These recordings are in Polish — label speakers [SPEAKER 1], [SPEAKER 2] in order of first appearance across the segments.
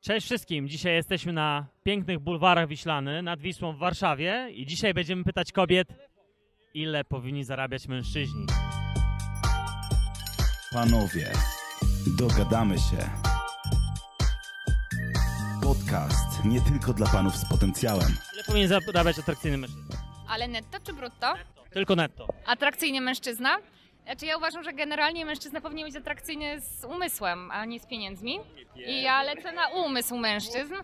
[SPEAKER 1] Cześć wszystkim. Dzisiaj jesteśmy na pięknych bulwarach Wiślany nad Wisłą w Warszawie i dzisiaj będziemy pytać kobiet, ile powinni zarabiać mężczyźni.
[SPEAKER 2] Panowie, dogadamy się. Podcast nie tylko dla panów z potencjałem.
[SPEAKER 1] Ile powinien zarabiać atrakcyjny mężczyzna?
[SPEAKER 3] Ale netto czy brutto?
[SPEAKER 1] Tylko netto.
[SPEAKER 3] Atrakcyjny mężczyzna? Znaczy ja uważam, że generalnie mężczyzna powinien być atrakcyjny z umysłem, a nie z pieniędzmi. I ja lecę na umysł mężczyzn.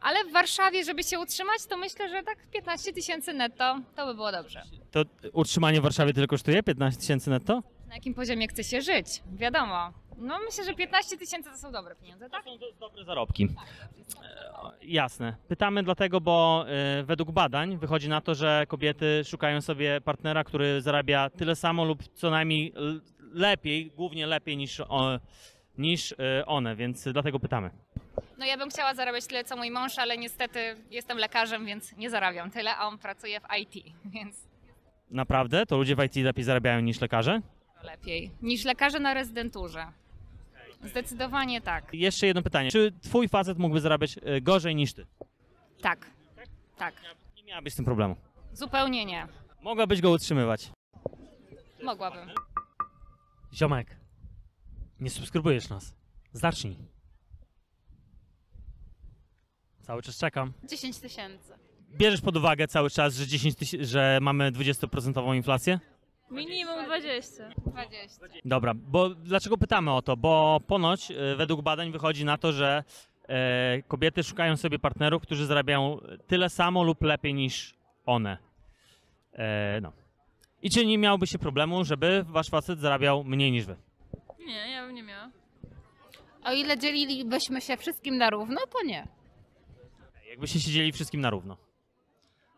[SPEAKER 3] Ale w Warszawie, żeby się utrzymać, to myślę, że tak 15 tysięcy netto to by było dobrze.
[SPEAKER 1] To utrzymanie w Warszawie tyle kosztuje? 15 tysięcy netto?
[SPEAKER 3] Na jakim poziomie chce się żyć? Wiadomo. No myślę, że 15 tysięcy to są dobre pieniądze, tak?
[SPEAKER 1] są dobre zarobki. E, Jasne. Pytamy dlatego, bo y, według badań wychodzi na to, że kobiety szukają sobie partnera, który zarabia tyle samo lub co najmniej l- lepiej, głównie lepiej niż, o, niż y, one, więc dlatego pytamy.
[SPEAKER 3] No ja bym chciała zarabiać tyle co mój mąż, ale niestety jestem lekarzem, więc nie zarabiam tyle, a on pracuje w IT, więc
[SPEAKER 1] Naprawdę? To ludzie w IT lepiej zarabiają niż lekarze?
[SPEAKER 3] lepiej niż lekarze na rezydenturze. Zdecydowanie tak.
[SPEAKER 1] I Jeszcze jedno pytanie. Czy twój facet mógłby zarabiać y, gorzej niż ty?
[SPEAKER 3] Tak. Tak.
[SPEAKER 1] Nie miałabyś z tym problemu.
[SPEAKER 3] Zupełnie nie.
[SPEAKER 1] Mogłabyś go utrzymywać.
[SPEAKER 3] Mogłabym.
[SPEAKER 1] Ziomek, nie subskrybujesz nas. Zacznij. Cały czas czekam.
[SPEAKER 4] 10 tysięcy.
[SPEAKER 1] Bierzesz pod uwagę cały czas, że, 10 tyś- że mamy 20% inflację?
[SPEAKER 4] Minimum 20.
[SPEAKER 3] 20.
[SPEAKER 1] Dobra, bo dlaczego pytamy o to? Bo ponoć y, według badań wychodzi na to, że e, kobiety szukają sobie partnerów, którzy zarabiają tyle samo lub lepiej niż one. E, no. I czy nie miałoby się problemu, żeby wasz facet zarabiał mniej niż wy?
[SPEAKER 4] Nie, ja bym nie miała.
[SPEAKER 5] O ile dzielilibyśmy się wszystkim na równo, to nie.
[SPEAKER 1] Jakbyście się dzielili wszystkim na równo.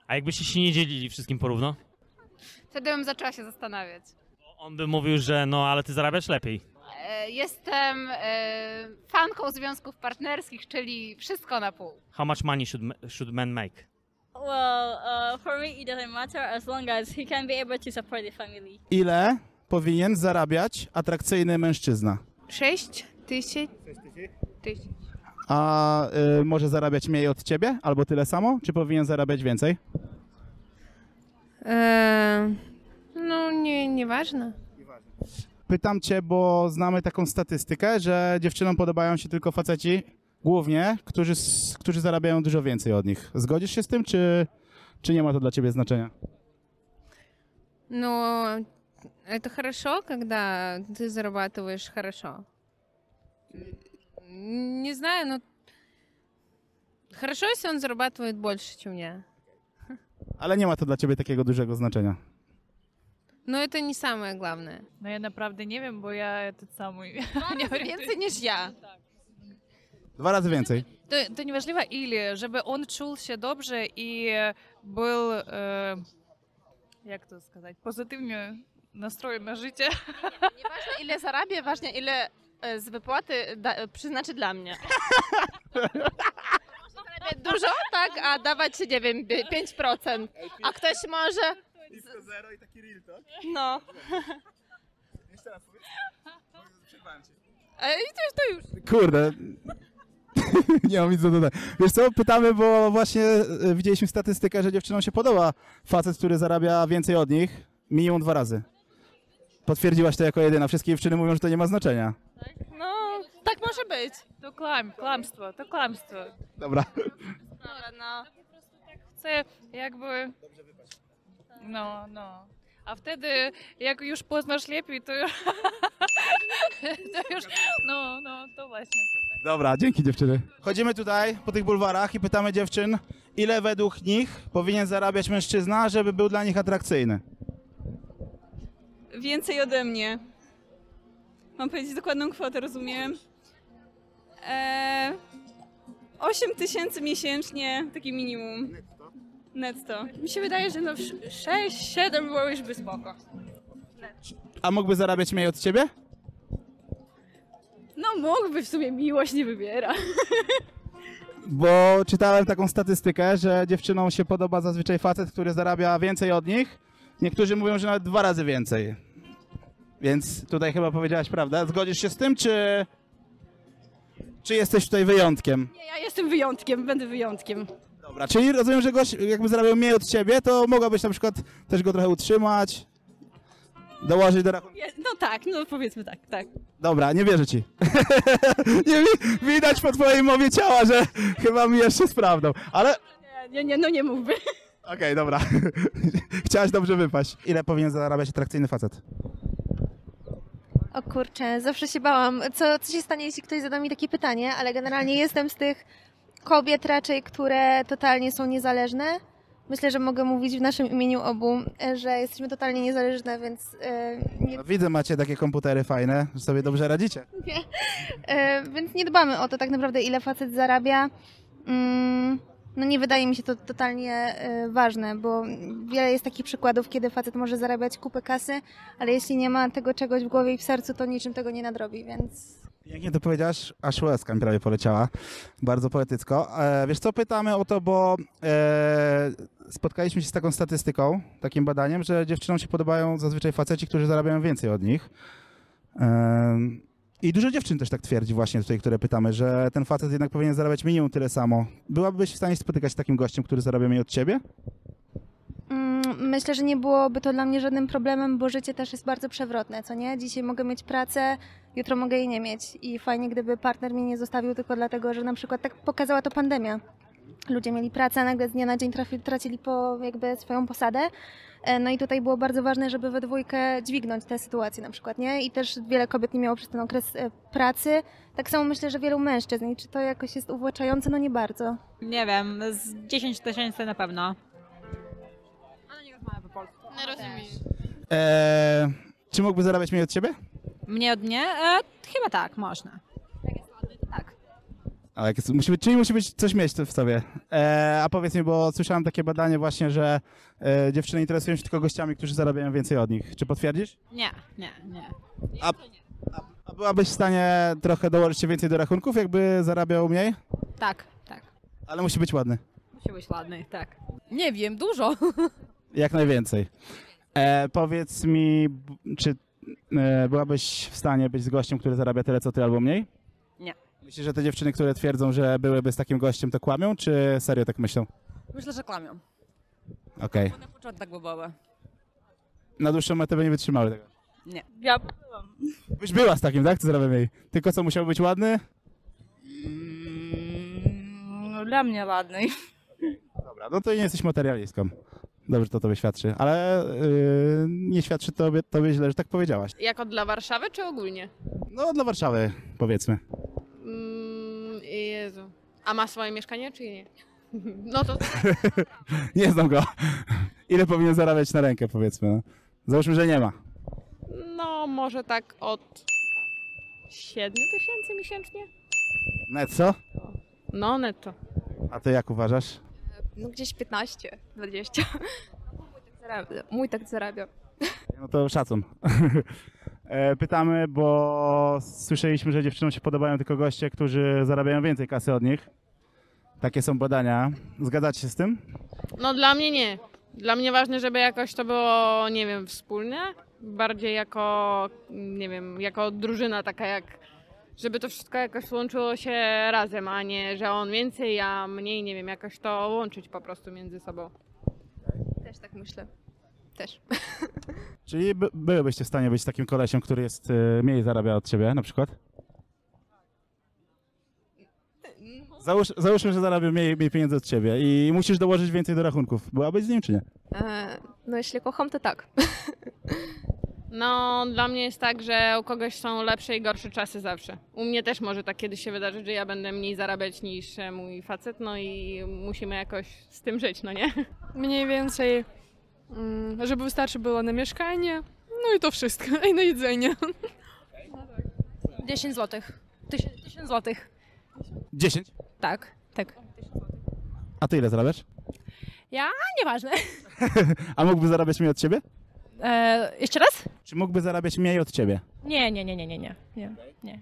[SPEAKER 1] A jakbyście się nie dzielili wszystkim porówno?
[SPEAKER 5] Wtedy bym zaczęła się zastanawiać.
[SPEAKER 1] On by mówił, że no ale ty zarabiasz lepiej.
[SPEAKER 5] E, Jestem e, fanką związków partnerskich, czyli wszystko na pół.
[SPEAKER 1] How much money should, m- should men make?
[SPEAKER 6] Well, uh, for me, it doesn't matter as long as he can be able to support the family.
[SPEAKER 7] Ile powinien zarabiać atrakcyjny mężczyzna?
[SPEAKER 5] 6 tysięcy? tysięcy.
[SPEAKER 7] A y, może zarabiać mniej od ciebie albo tyle samo? Czy powinien zarabiać więcej?
[SPEAKER 8] Eee, no, nie, nieważne.
[SPEAKER 7] Pytam cię, bo znamy taką statystykę, że dziewczynom podobają się tylko faceci, głównie, którzy, s- którzy zarabiają dużo więcej od nich. Zgodzisz się z tym, czy, czy nie ma to dla ciebie znaczenia?
[SPEAKER 8] Но это хорошо, когда ты зарабатываешь хорошо. М, Не знаю, но хорошо, если он зарабатывает больше, чем я.
[SPEAKER 7] Ale nie ma to dla ciebie takiego dużego znaczenia.
[SPEAKER 8] Но это не самое главное.
[SPEAKER 4] No ja naprawdę nie wiem, bo ja ten samój.
[SPEAKER 5] Więcej niż ja.
[SPEAKER 7] Dwa razy więcej.
[SPEAKER 4] To, to nieważliwe ile, żeby on czuł się dobrze i był, e, jak to сказать, pozytywnie nastrojony na życie.
[SPEAKER 9] Nieważne ile zarabia, ważne ile e, z wypłaty da, e, przyznaczy dla mnie. Zarabia Dużo, tak, a dawać, nie wiem, by- 5%. A ktoś może...
[SPEAKER 7] Blisko zero i taki real talk.
[SPEAKER 9] No.
[SPEAKER 7] Jeszcze raz powiedz. Przerwałem cię.
[SPEAKER 9] E, I to już, to już.
[SPEAKER 7] Kurde. Nie mam nic do dodania. Wiesz co, pytamy, bo właśnie e, widzieliśmy statystykę, że dziewczynom się podoba facet, który zarabia więcej od nich, minimum dwa razy. Potwierdziłaś to jako jedyna. Wszystkie dziewczyny mówią, że to nie ma znaczenia.
[SPEAKER 9] No, tak może być.
[SPEAKER 4] To klam, klamstwo, to klamstwo.
[SPEAKER 7] Dobra.
[SPEAKER 9] Dobra, no.
[SPEAKER 4] Це ну, якби. No, no. A wtedy, jak już poznasz lepiej, to już. to już. No, no, to właśnie. To tak.
[SPEAKER 7] Dobra, dzięki dziewczyny. Chodzimy tutaj po tych bulwarach i pytamy dziewczyn, ile według nich powinien zarabiać mężczyzna, żeby był dla nich atrakcyjny.
[SPEAKER 10] Więcej ode mnie. Mam powiedzieć dokładną kwotę, rozumiem. Eee, 8 tysięcy miesięcznie, taki minimum. Netto. Mi się wydaje, że no 6-7 było już by spoko.
[SPEAKER 7] A mógłby zarabiać mniej od ciebie?
[SPEAKER 10] No mógłby w sumie, miłość nie wybiera.
[SPEAKER 7] Bo czytałem taką statystykę, że dziewczynom się podoba zazwyczaj facet, który zarabia więcej od nich. Niektórzy mówią, że nawet dwa razy więcej. Więc tutaj chyba powiedziałaś prawdę. Zgodzisz się z tym, czy, Czy jesteś tutaj wyjątkiem?
[SPEAKER 11] Nie, ja jestem wyjątkiem, będę wyjątkiem.
[SPEAKER 7] Dobra, czyli rozumiem, że gość jakby zarabiał mniej od ciebie, to mogłabyś na przykład też go trochę utrzymać, dołożyć do rachunku.
[SPEAKER 11] Je- No tak, no powiedzmy tak, tak.
[SPEAKER 7] Dobra, nie wierzę ci. nie, wi- widać po twojej mowie ciała, że chyba mi jeszcze z prawdą, ale...
[SPEAKER 11] Nie, Nie, nie, no nie mógłby.
[SPEAKER 7] Okej, dobra. Chciałaś dobrze wypaść. Ile powinien zarabiać atrakcyjny facet?
[SPEAKER 12] O kurczę, zawsze się bałam, co, co się stanie, jeśli ktoś zada mi takie pytanie, ale generalnie jestem z tych kobiet raczej, które totalnie są niezależne. Myślę, że mogę mówić w naszym imieniu obu, e, że jesteśmy totalnie niezależne, więc e, nie,
[SPEAKER 7] No, widzę, macie takie komputery fajne, że sobie dobrze radzicie.
[SPEAKER 12] e, więc nie dbamy o to tak naprawdę, ile facet zarabia. Mm, no nie wydaje mi się to totalnie e, ważne, bo wiele jest takich przykładów, kiedy facet może zarabiać kupę kasy, ale jeśli nie ma tego czegoś w głowie i w sercu, to niczym tego nie nadrobi, więc...
[SPEAKER 7] Pięknie to powiedziałaś, aż łezka mi prawie poleciała. Bardzo poetycko. E, wiesz co, pytamy o to, bo e, spotkaliśmy się z taką statystyką, takim badaniem, że dziewczynom się podobają zazwyczaj faceci, którzy zarabiają więcej od nich. E, I dużo dziewczyn też tak twierdzi właśnie tutaj, które pytamy, że ten facet jednak powinien zarabiać minimum tyle samo. Byłabyś w stanie spotykać się z takim gościem, który zarabia mniej od ciebie?
[SPEAKER 12] Mm, Myślę, że nie byłoby to dla mnie żadnym problemem, bo życie też jest bardzo przewrotne, co nie? Dzisiaj mogę mieć pracę, jutro mogę jej nie mieć. I fajnie, gdyby partner mnie nie zostawił tylko dlatego, że na przykład tak pokazała to pandemia. Ludzie mieli pracę, a nagle z dnia na dzień trafi, tracili po, jakby swoją posadę. E, No i tutaj było bardzo ważne, żeby we dwójkę dźwignąć tę sytuację na przykład, nie? I też wiele kobiet nie miało przez ten okres e, pracy. Tak samo myślę, że wielu mężczyzn. I czy to jakoś jest uwłaczające? No nie bardzo.
[SPEAKER 13] Nie wiem, z 10 tysięcy na pewno.
[SPEAKER 4] Nie rozumiesz.
[SPEAKER 7] E, czy mógłby zarabiać mniej od ciebie?
[SPEAKER 13] Mnie od mnie? E, chyba tak, można.
[SPEAKER 7] A jak jest, musi być, czyli musi być coś mieć w sobie. E, a powiedz mi, bo słyszałem takie badanie właśnie, że e, dziewczyny interesują się tylko gościami, którzy zarabiają więcej od nich. Czy potwierdzisz?
[SPEAKER 13] Nie, nie, nie.
[SPEAKER 7] A, a byłabyś w stanie trochę dołożyć się więcej do rachunków, jakby zarabiał mniej?
[SPEAKER 13] Tak, tak.
[SPEAKER 7] Ale musi być ładny.
[SPEAKER 13] Musi być ładny, tak.
[SPEAKER 14] Nie wiem, dużo.
[SPEAKER 7] Jak najwięcej. E, powiedz mi, b- czy e, byłabyś w stanie być z gościem, który zarabia tyle co ty albo mniej?
[SPEAKER 14] Nie.
[SPEAKER 7] Myślisz, że te dziewczyny, które twierdzą, że byłyby z takim gościem, to kłamią, czy serio tak myślą?
[SPEAKER 14] Myślę, że klamią.
[SPEAKER 7] Okej.
[SPEAKER 14] Na początku tak bywały.
[SPEAKER 7] Na dłuższą metę by nie wytrzymały tego.
[SPEAKER 14] Nie.
[SPEAKER 6] Ja byłam.
[SPEAKER 7] Byś była z takim, tak? Co zrobię jej? Tylko co, musiał być ładny?
[SPEAKER 15] No, dla mnie ładnej.
[SPEAKER 7] Dobra, no to nie jesteś materialistką. Dobrze to tobie świadczy, ale yy, nie świadczy tobie, tobie źle, że tak powiedziałaś.
[SPEAKER 16] Jako dla Warszawy czy ogólnie?
[SPEAKER 7] No, dla Warszawy, powiedzmy.
[SPEAKER 16] Mm, Jezu. A ma swoje mieszkanie czy nie? No to
[SPEAKER 7] nie znam go. Ile powinien zarabiać na rękę, powiedzmy. No. Załóżmy, że nie ma.
[SPEAKER 16] no może tak od 7 tysięcy miesięcznie?
[SPEAKER 7] Netco?
[SPEAKER 16] No netto.
[SPEAKER 7] A ty jak uważasz?
[SPEAKER 12] Ну,
[SPEAKER 17] No gdzieś 15, 20. Mój tak zarabia.
[SPEAKER 7] No to szacun. E, Pytamy, bo słyszeliśmy, że dziewczynom się podobają tylko goście, którzy zarabiają więcej kasy od nich. Takie są badania. Zgadzacie się z tym?
[SPEAKER 16] No dla mnie nie. Dla mnie ważne, żeby jakoś to było, nie wiem, wspólne. Bardziej jako, nie wiem, jako drużyna taka jak, żeby to wszystko jakoś łączyło się razem, a nie, że on więcej, a mniej, nie wiem, jakoś to łączyć po prostu między sobą.
[SPEAKER 17] Też tak myślę. Też.
[SPEAKER 7] Czyli by, byłybyście w stanie być takim kolesiem, który jest y, mniej zarabia od ciebie na przykład? Załóż, załóżmy, że zarabia mniej, mniej pieniędzy od ciebie i musisz dołożyć więcej do rachunków. Byłabyś z nim czy nie?
[SPEAKER 17] E,
[SPEAKER 12] ну,
[SPEAKER 17] no jeśli kocham, to
[SPEAKER 12] так.
[SPEAKER 17] tak.
[SPEAKER 16] No, dla mnie jest tak, że u kogoś są lepsze i gorsze czasy zawsze. U mnie też może tak kiedyś się wydarzyć, że ja będę mniej zarabiać niż e, mój facet, no i musimy jakoś z tym żyć, no nie?
[SPEAKER 18] Mniej więcej, mm, żeby wystarczy było na mieszkanie, no i to wszystko, i na jedzenie.
[SPEAKER 14] 10 złotych. 1000 złotych.
[SPEAKER 7] 10.
[SPEAKER 14] Tak, tak.
[SPEAKER 7] A ty ile zarabiasz?
[SPEAKER 14] Ja? Nieważne.
[SPEAKER 7] A mógłby zarabiać mniej od ciebie?
[SPEAKER 14] E, jeszcze raz?
[SPEAKER 7] Czy mógłby zarabiać mniej od ciebie?
[SPEAKER 14] Nie, nie, nie, nie, nie, nie. nie, nie.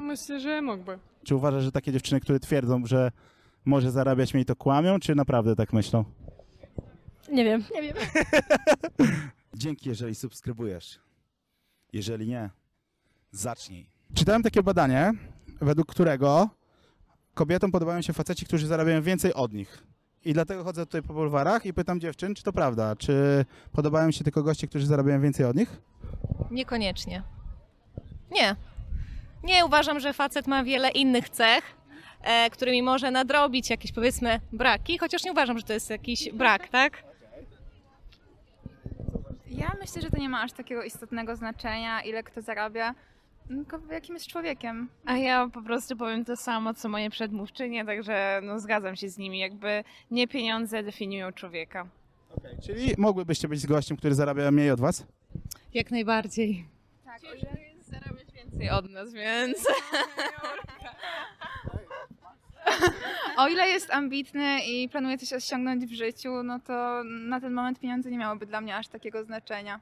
[SPEAKER 18] Myślę, że mógłby.
[SPEAKER 7] Czy uważasz, że takie dziewczyny, które twierdzą, że może zarabiać mniej, to kłamią, czy naprawdę tak myślą?
[SPEAKER 14] Nie wiem, nie wiem.
[SPEAKER 2] Dzięki, jeżeli subskrybujesz. Jeżeli nie, zacznij.
[SPEAKER 7] Czytałem takie badanie, według którego kobietom podobają się faceci, którzy zarabiają więcej od nich. I dlatego chodzę tutaj po bulwarach i pytam dziewczyn, czy to prawda, czy podobają się tylko goście, którzy zarabiają więcej od nich?
[SPEAKER 19] Niekoniecznie. Nie. Nie uważam, że facet ma wiele innych cech, e, którymi może nadrobić jakieś powiedzmy braki, chociaż nie uważam, że to jest jakiś brak, tak?
[SPEAKER 20] Ja myślę, że to nie ma aż takiego istotnego znaczenia, ile kto zarabia, tylko jakim jest człowiekiem.
[SPEAKER 21] A ja po prostu powiem to samo, co moje przedmówczynie, także no, zgadzam się z nimi. Jakby nie pieniądze definiują człowieka.
[SPEAKER 7] Czyli mogłybyście być z gościem, który zarabia mniej od was?
[SPEAKER 19] Jak najbardziej.
[SPEAKER 20] Tak,
[SPEAKER 21] Zarabiasz więcej od nas, więc...
[SPEAKER 20] O ile jest ambitny i planuje coś osiągnąć w życiu, no to na ten moment pieniądze nie miałyby dla mnie aż takiego znaczenia.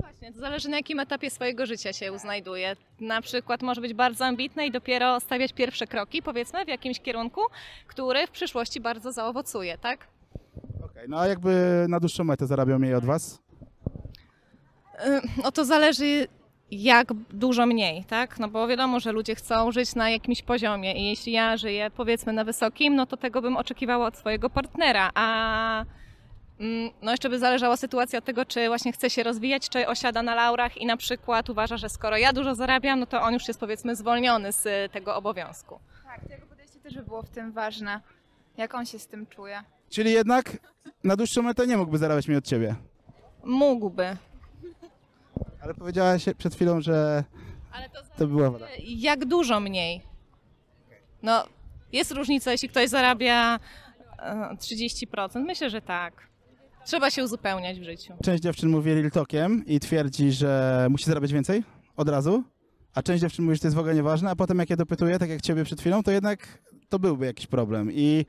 [SPEAKER 19] Właśnie, to zależy na jakim etapie swojego życia się znajduje. Na przykład może być bardzo ambitny i dopiero stawiać pierwsze kroki, powiedzmy, w jakimś kierunku, który w przyszłości bardzo zaowocuje, tak?
[SPEAKER 7] Okej, no a jakby na dłuższą metę zarabiał mniej od was?
[SPEAKER 19] Y, No to zależy jak dużo mniej, tak? No bo wiadomo, że ludzie chcą żyć na jakimś poziomie i jeśli ja żyję powiedzmy na wysokim, no to tego bym oczekiwała od swojego partnera, a mm, no jeszcze by zależała sytuacja od tego, czy właśnie chce się rozwijać, czy osiada na laurach i na przykład uważa, że skoro ja dużo zarabiam, no to on już jest powiedzmy zwolniony z y, tego obowiązku.
[SPEAKER 20] Tak, to jego podejście też by było w tym ważne, jak on się z tym czuje.
[SPEAKER 7] Czyli jednak na dłuższą metę nie mógłby zarabiać mniej od ciebie.
[SPEAKER 19] Mógłby.
[SPEAKER 7] Ale powiedziałaś przed chwilą, że to, była woda.
[SPEAKER 19] Jak dużo mniej? No, jest różnica, jeśli ktoś zarabia e, 30%. Myślę, że tak. Trzeba się uzupełniać w życiu.
[SPEAKER 7] Część dziewczyn mówi real talkiem i twierdzi, że musi zarabiać więcej od razu, a część dziewczyn mówi, że to jest w ogóle nieważne, a potem jak je dopytuję, tak jak ciebie przed chwilą, to jednak to byłby jakiś problem. I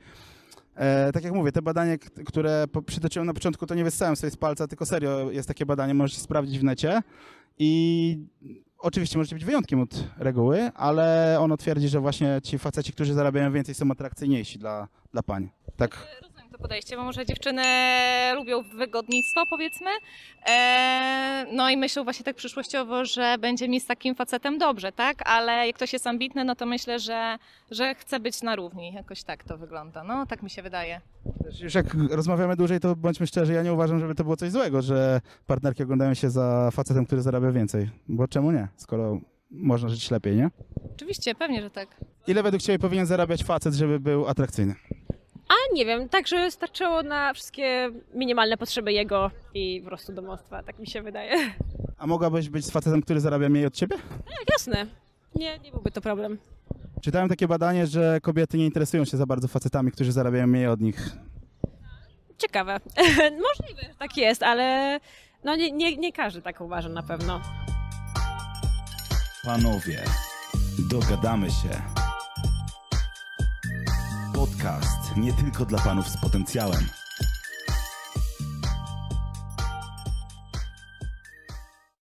[SPEAKER 7] e, tak jak mówię, te badania, k- które po- przytoczyłem na początku, to nie wyssałem sobie z palca, tylko serio jest takie badanie, możecie sprawdzić w necie. I oczywiście możecie być wyjątkiem od reguły, ale ono twierdzi, że właśnie ci faceci, którzy zarabiają więcej, są atrakcyjniejsi dla, dla pań. Tak.
[SPEAKER 19] to podejście, bo może dziewczyny lubią wygodnictwo, powiedzmy. E, no i myślą właśnie tak przyszłościowo, że będzie mi z takim facetem dobrze, tak? Ale jak ktoś jest ambitny, no to myślę, że, że chce być na równi. Jakoś tak to wygląda. No, tak mi się wydaje.
[SPEAKER 7] Też Już jak rozmawiamy dłużej, to bądźmy szczerzy, ja nie uważam, żeby to było coś złego, że partnerki oglądają się za facetem, który zarabia więcej. Bo czemu nie, skoro można żyć lepiej, nie?
[SPEAKER 19] Oczywiście, pewnie, że tak.
[SPEAKER 7] Ile według Ciebie powinien zarabiać facet, żeby był atrakcyjny?
[SPEAKER 22] A nie wiem, także starczyło na wszystkie minimalne potrzeby jego i po prostu domostwa, tak mi się wydaje.
[SPEAKER 7] A mogłabyś być z facetem, który zarabia mniej od Ciebie?
[SPEAKER 22] Tak, jasne. Nie, nie byłby to problem.
[SPEAKER 7] Czytałem takie badanie, że kobiety nie interesują się za bardzo facetami, którzy zarabiają mniej od nich.
[SPEAKER 22] Ciekawe. Możliwe, że tak jest, ale no nie, nie, nie każdy tak uważa na pewno.
[SPEAKER 2] Panowie, dogadamy się. Podcast nie tylko dla panów z potencjałem.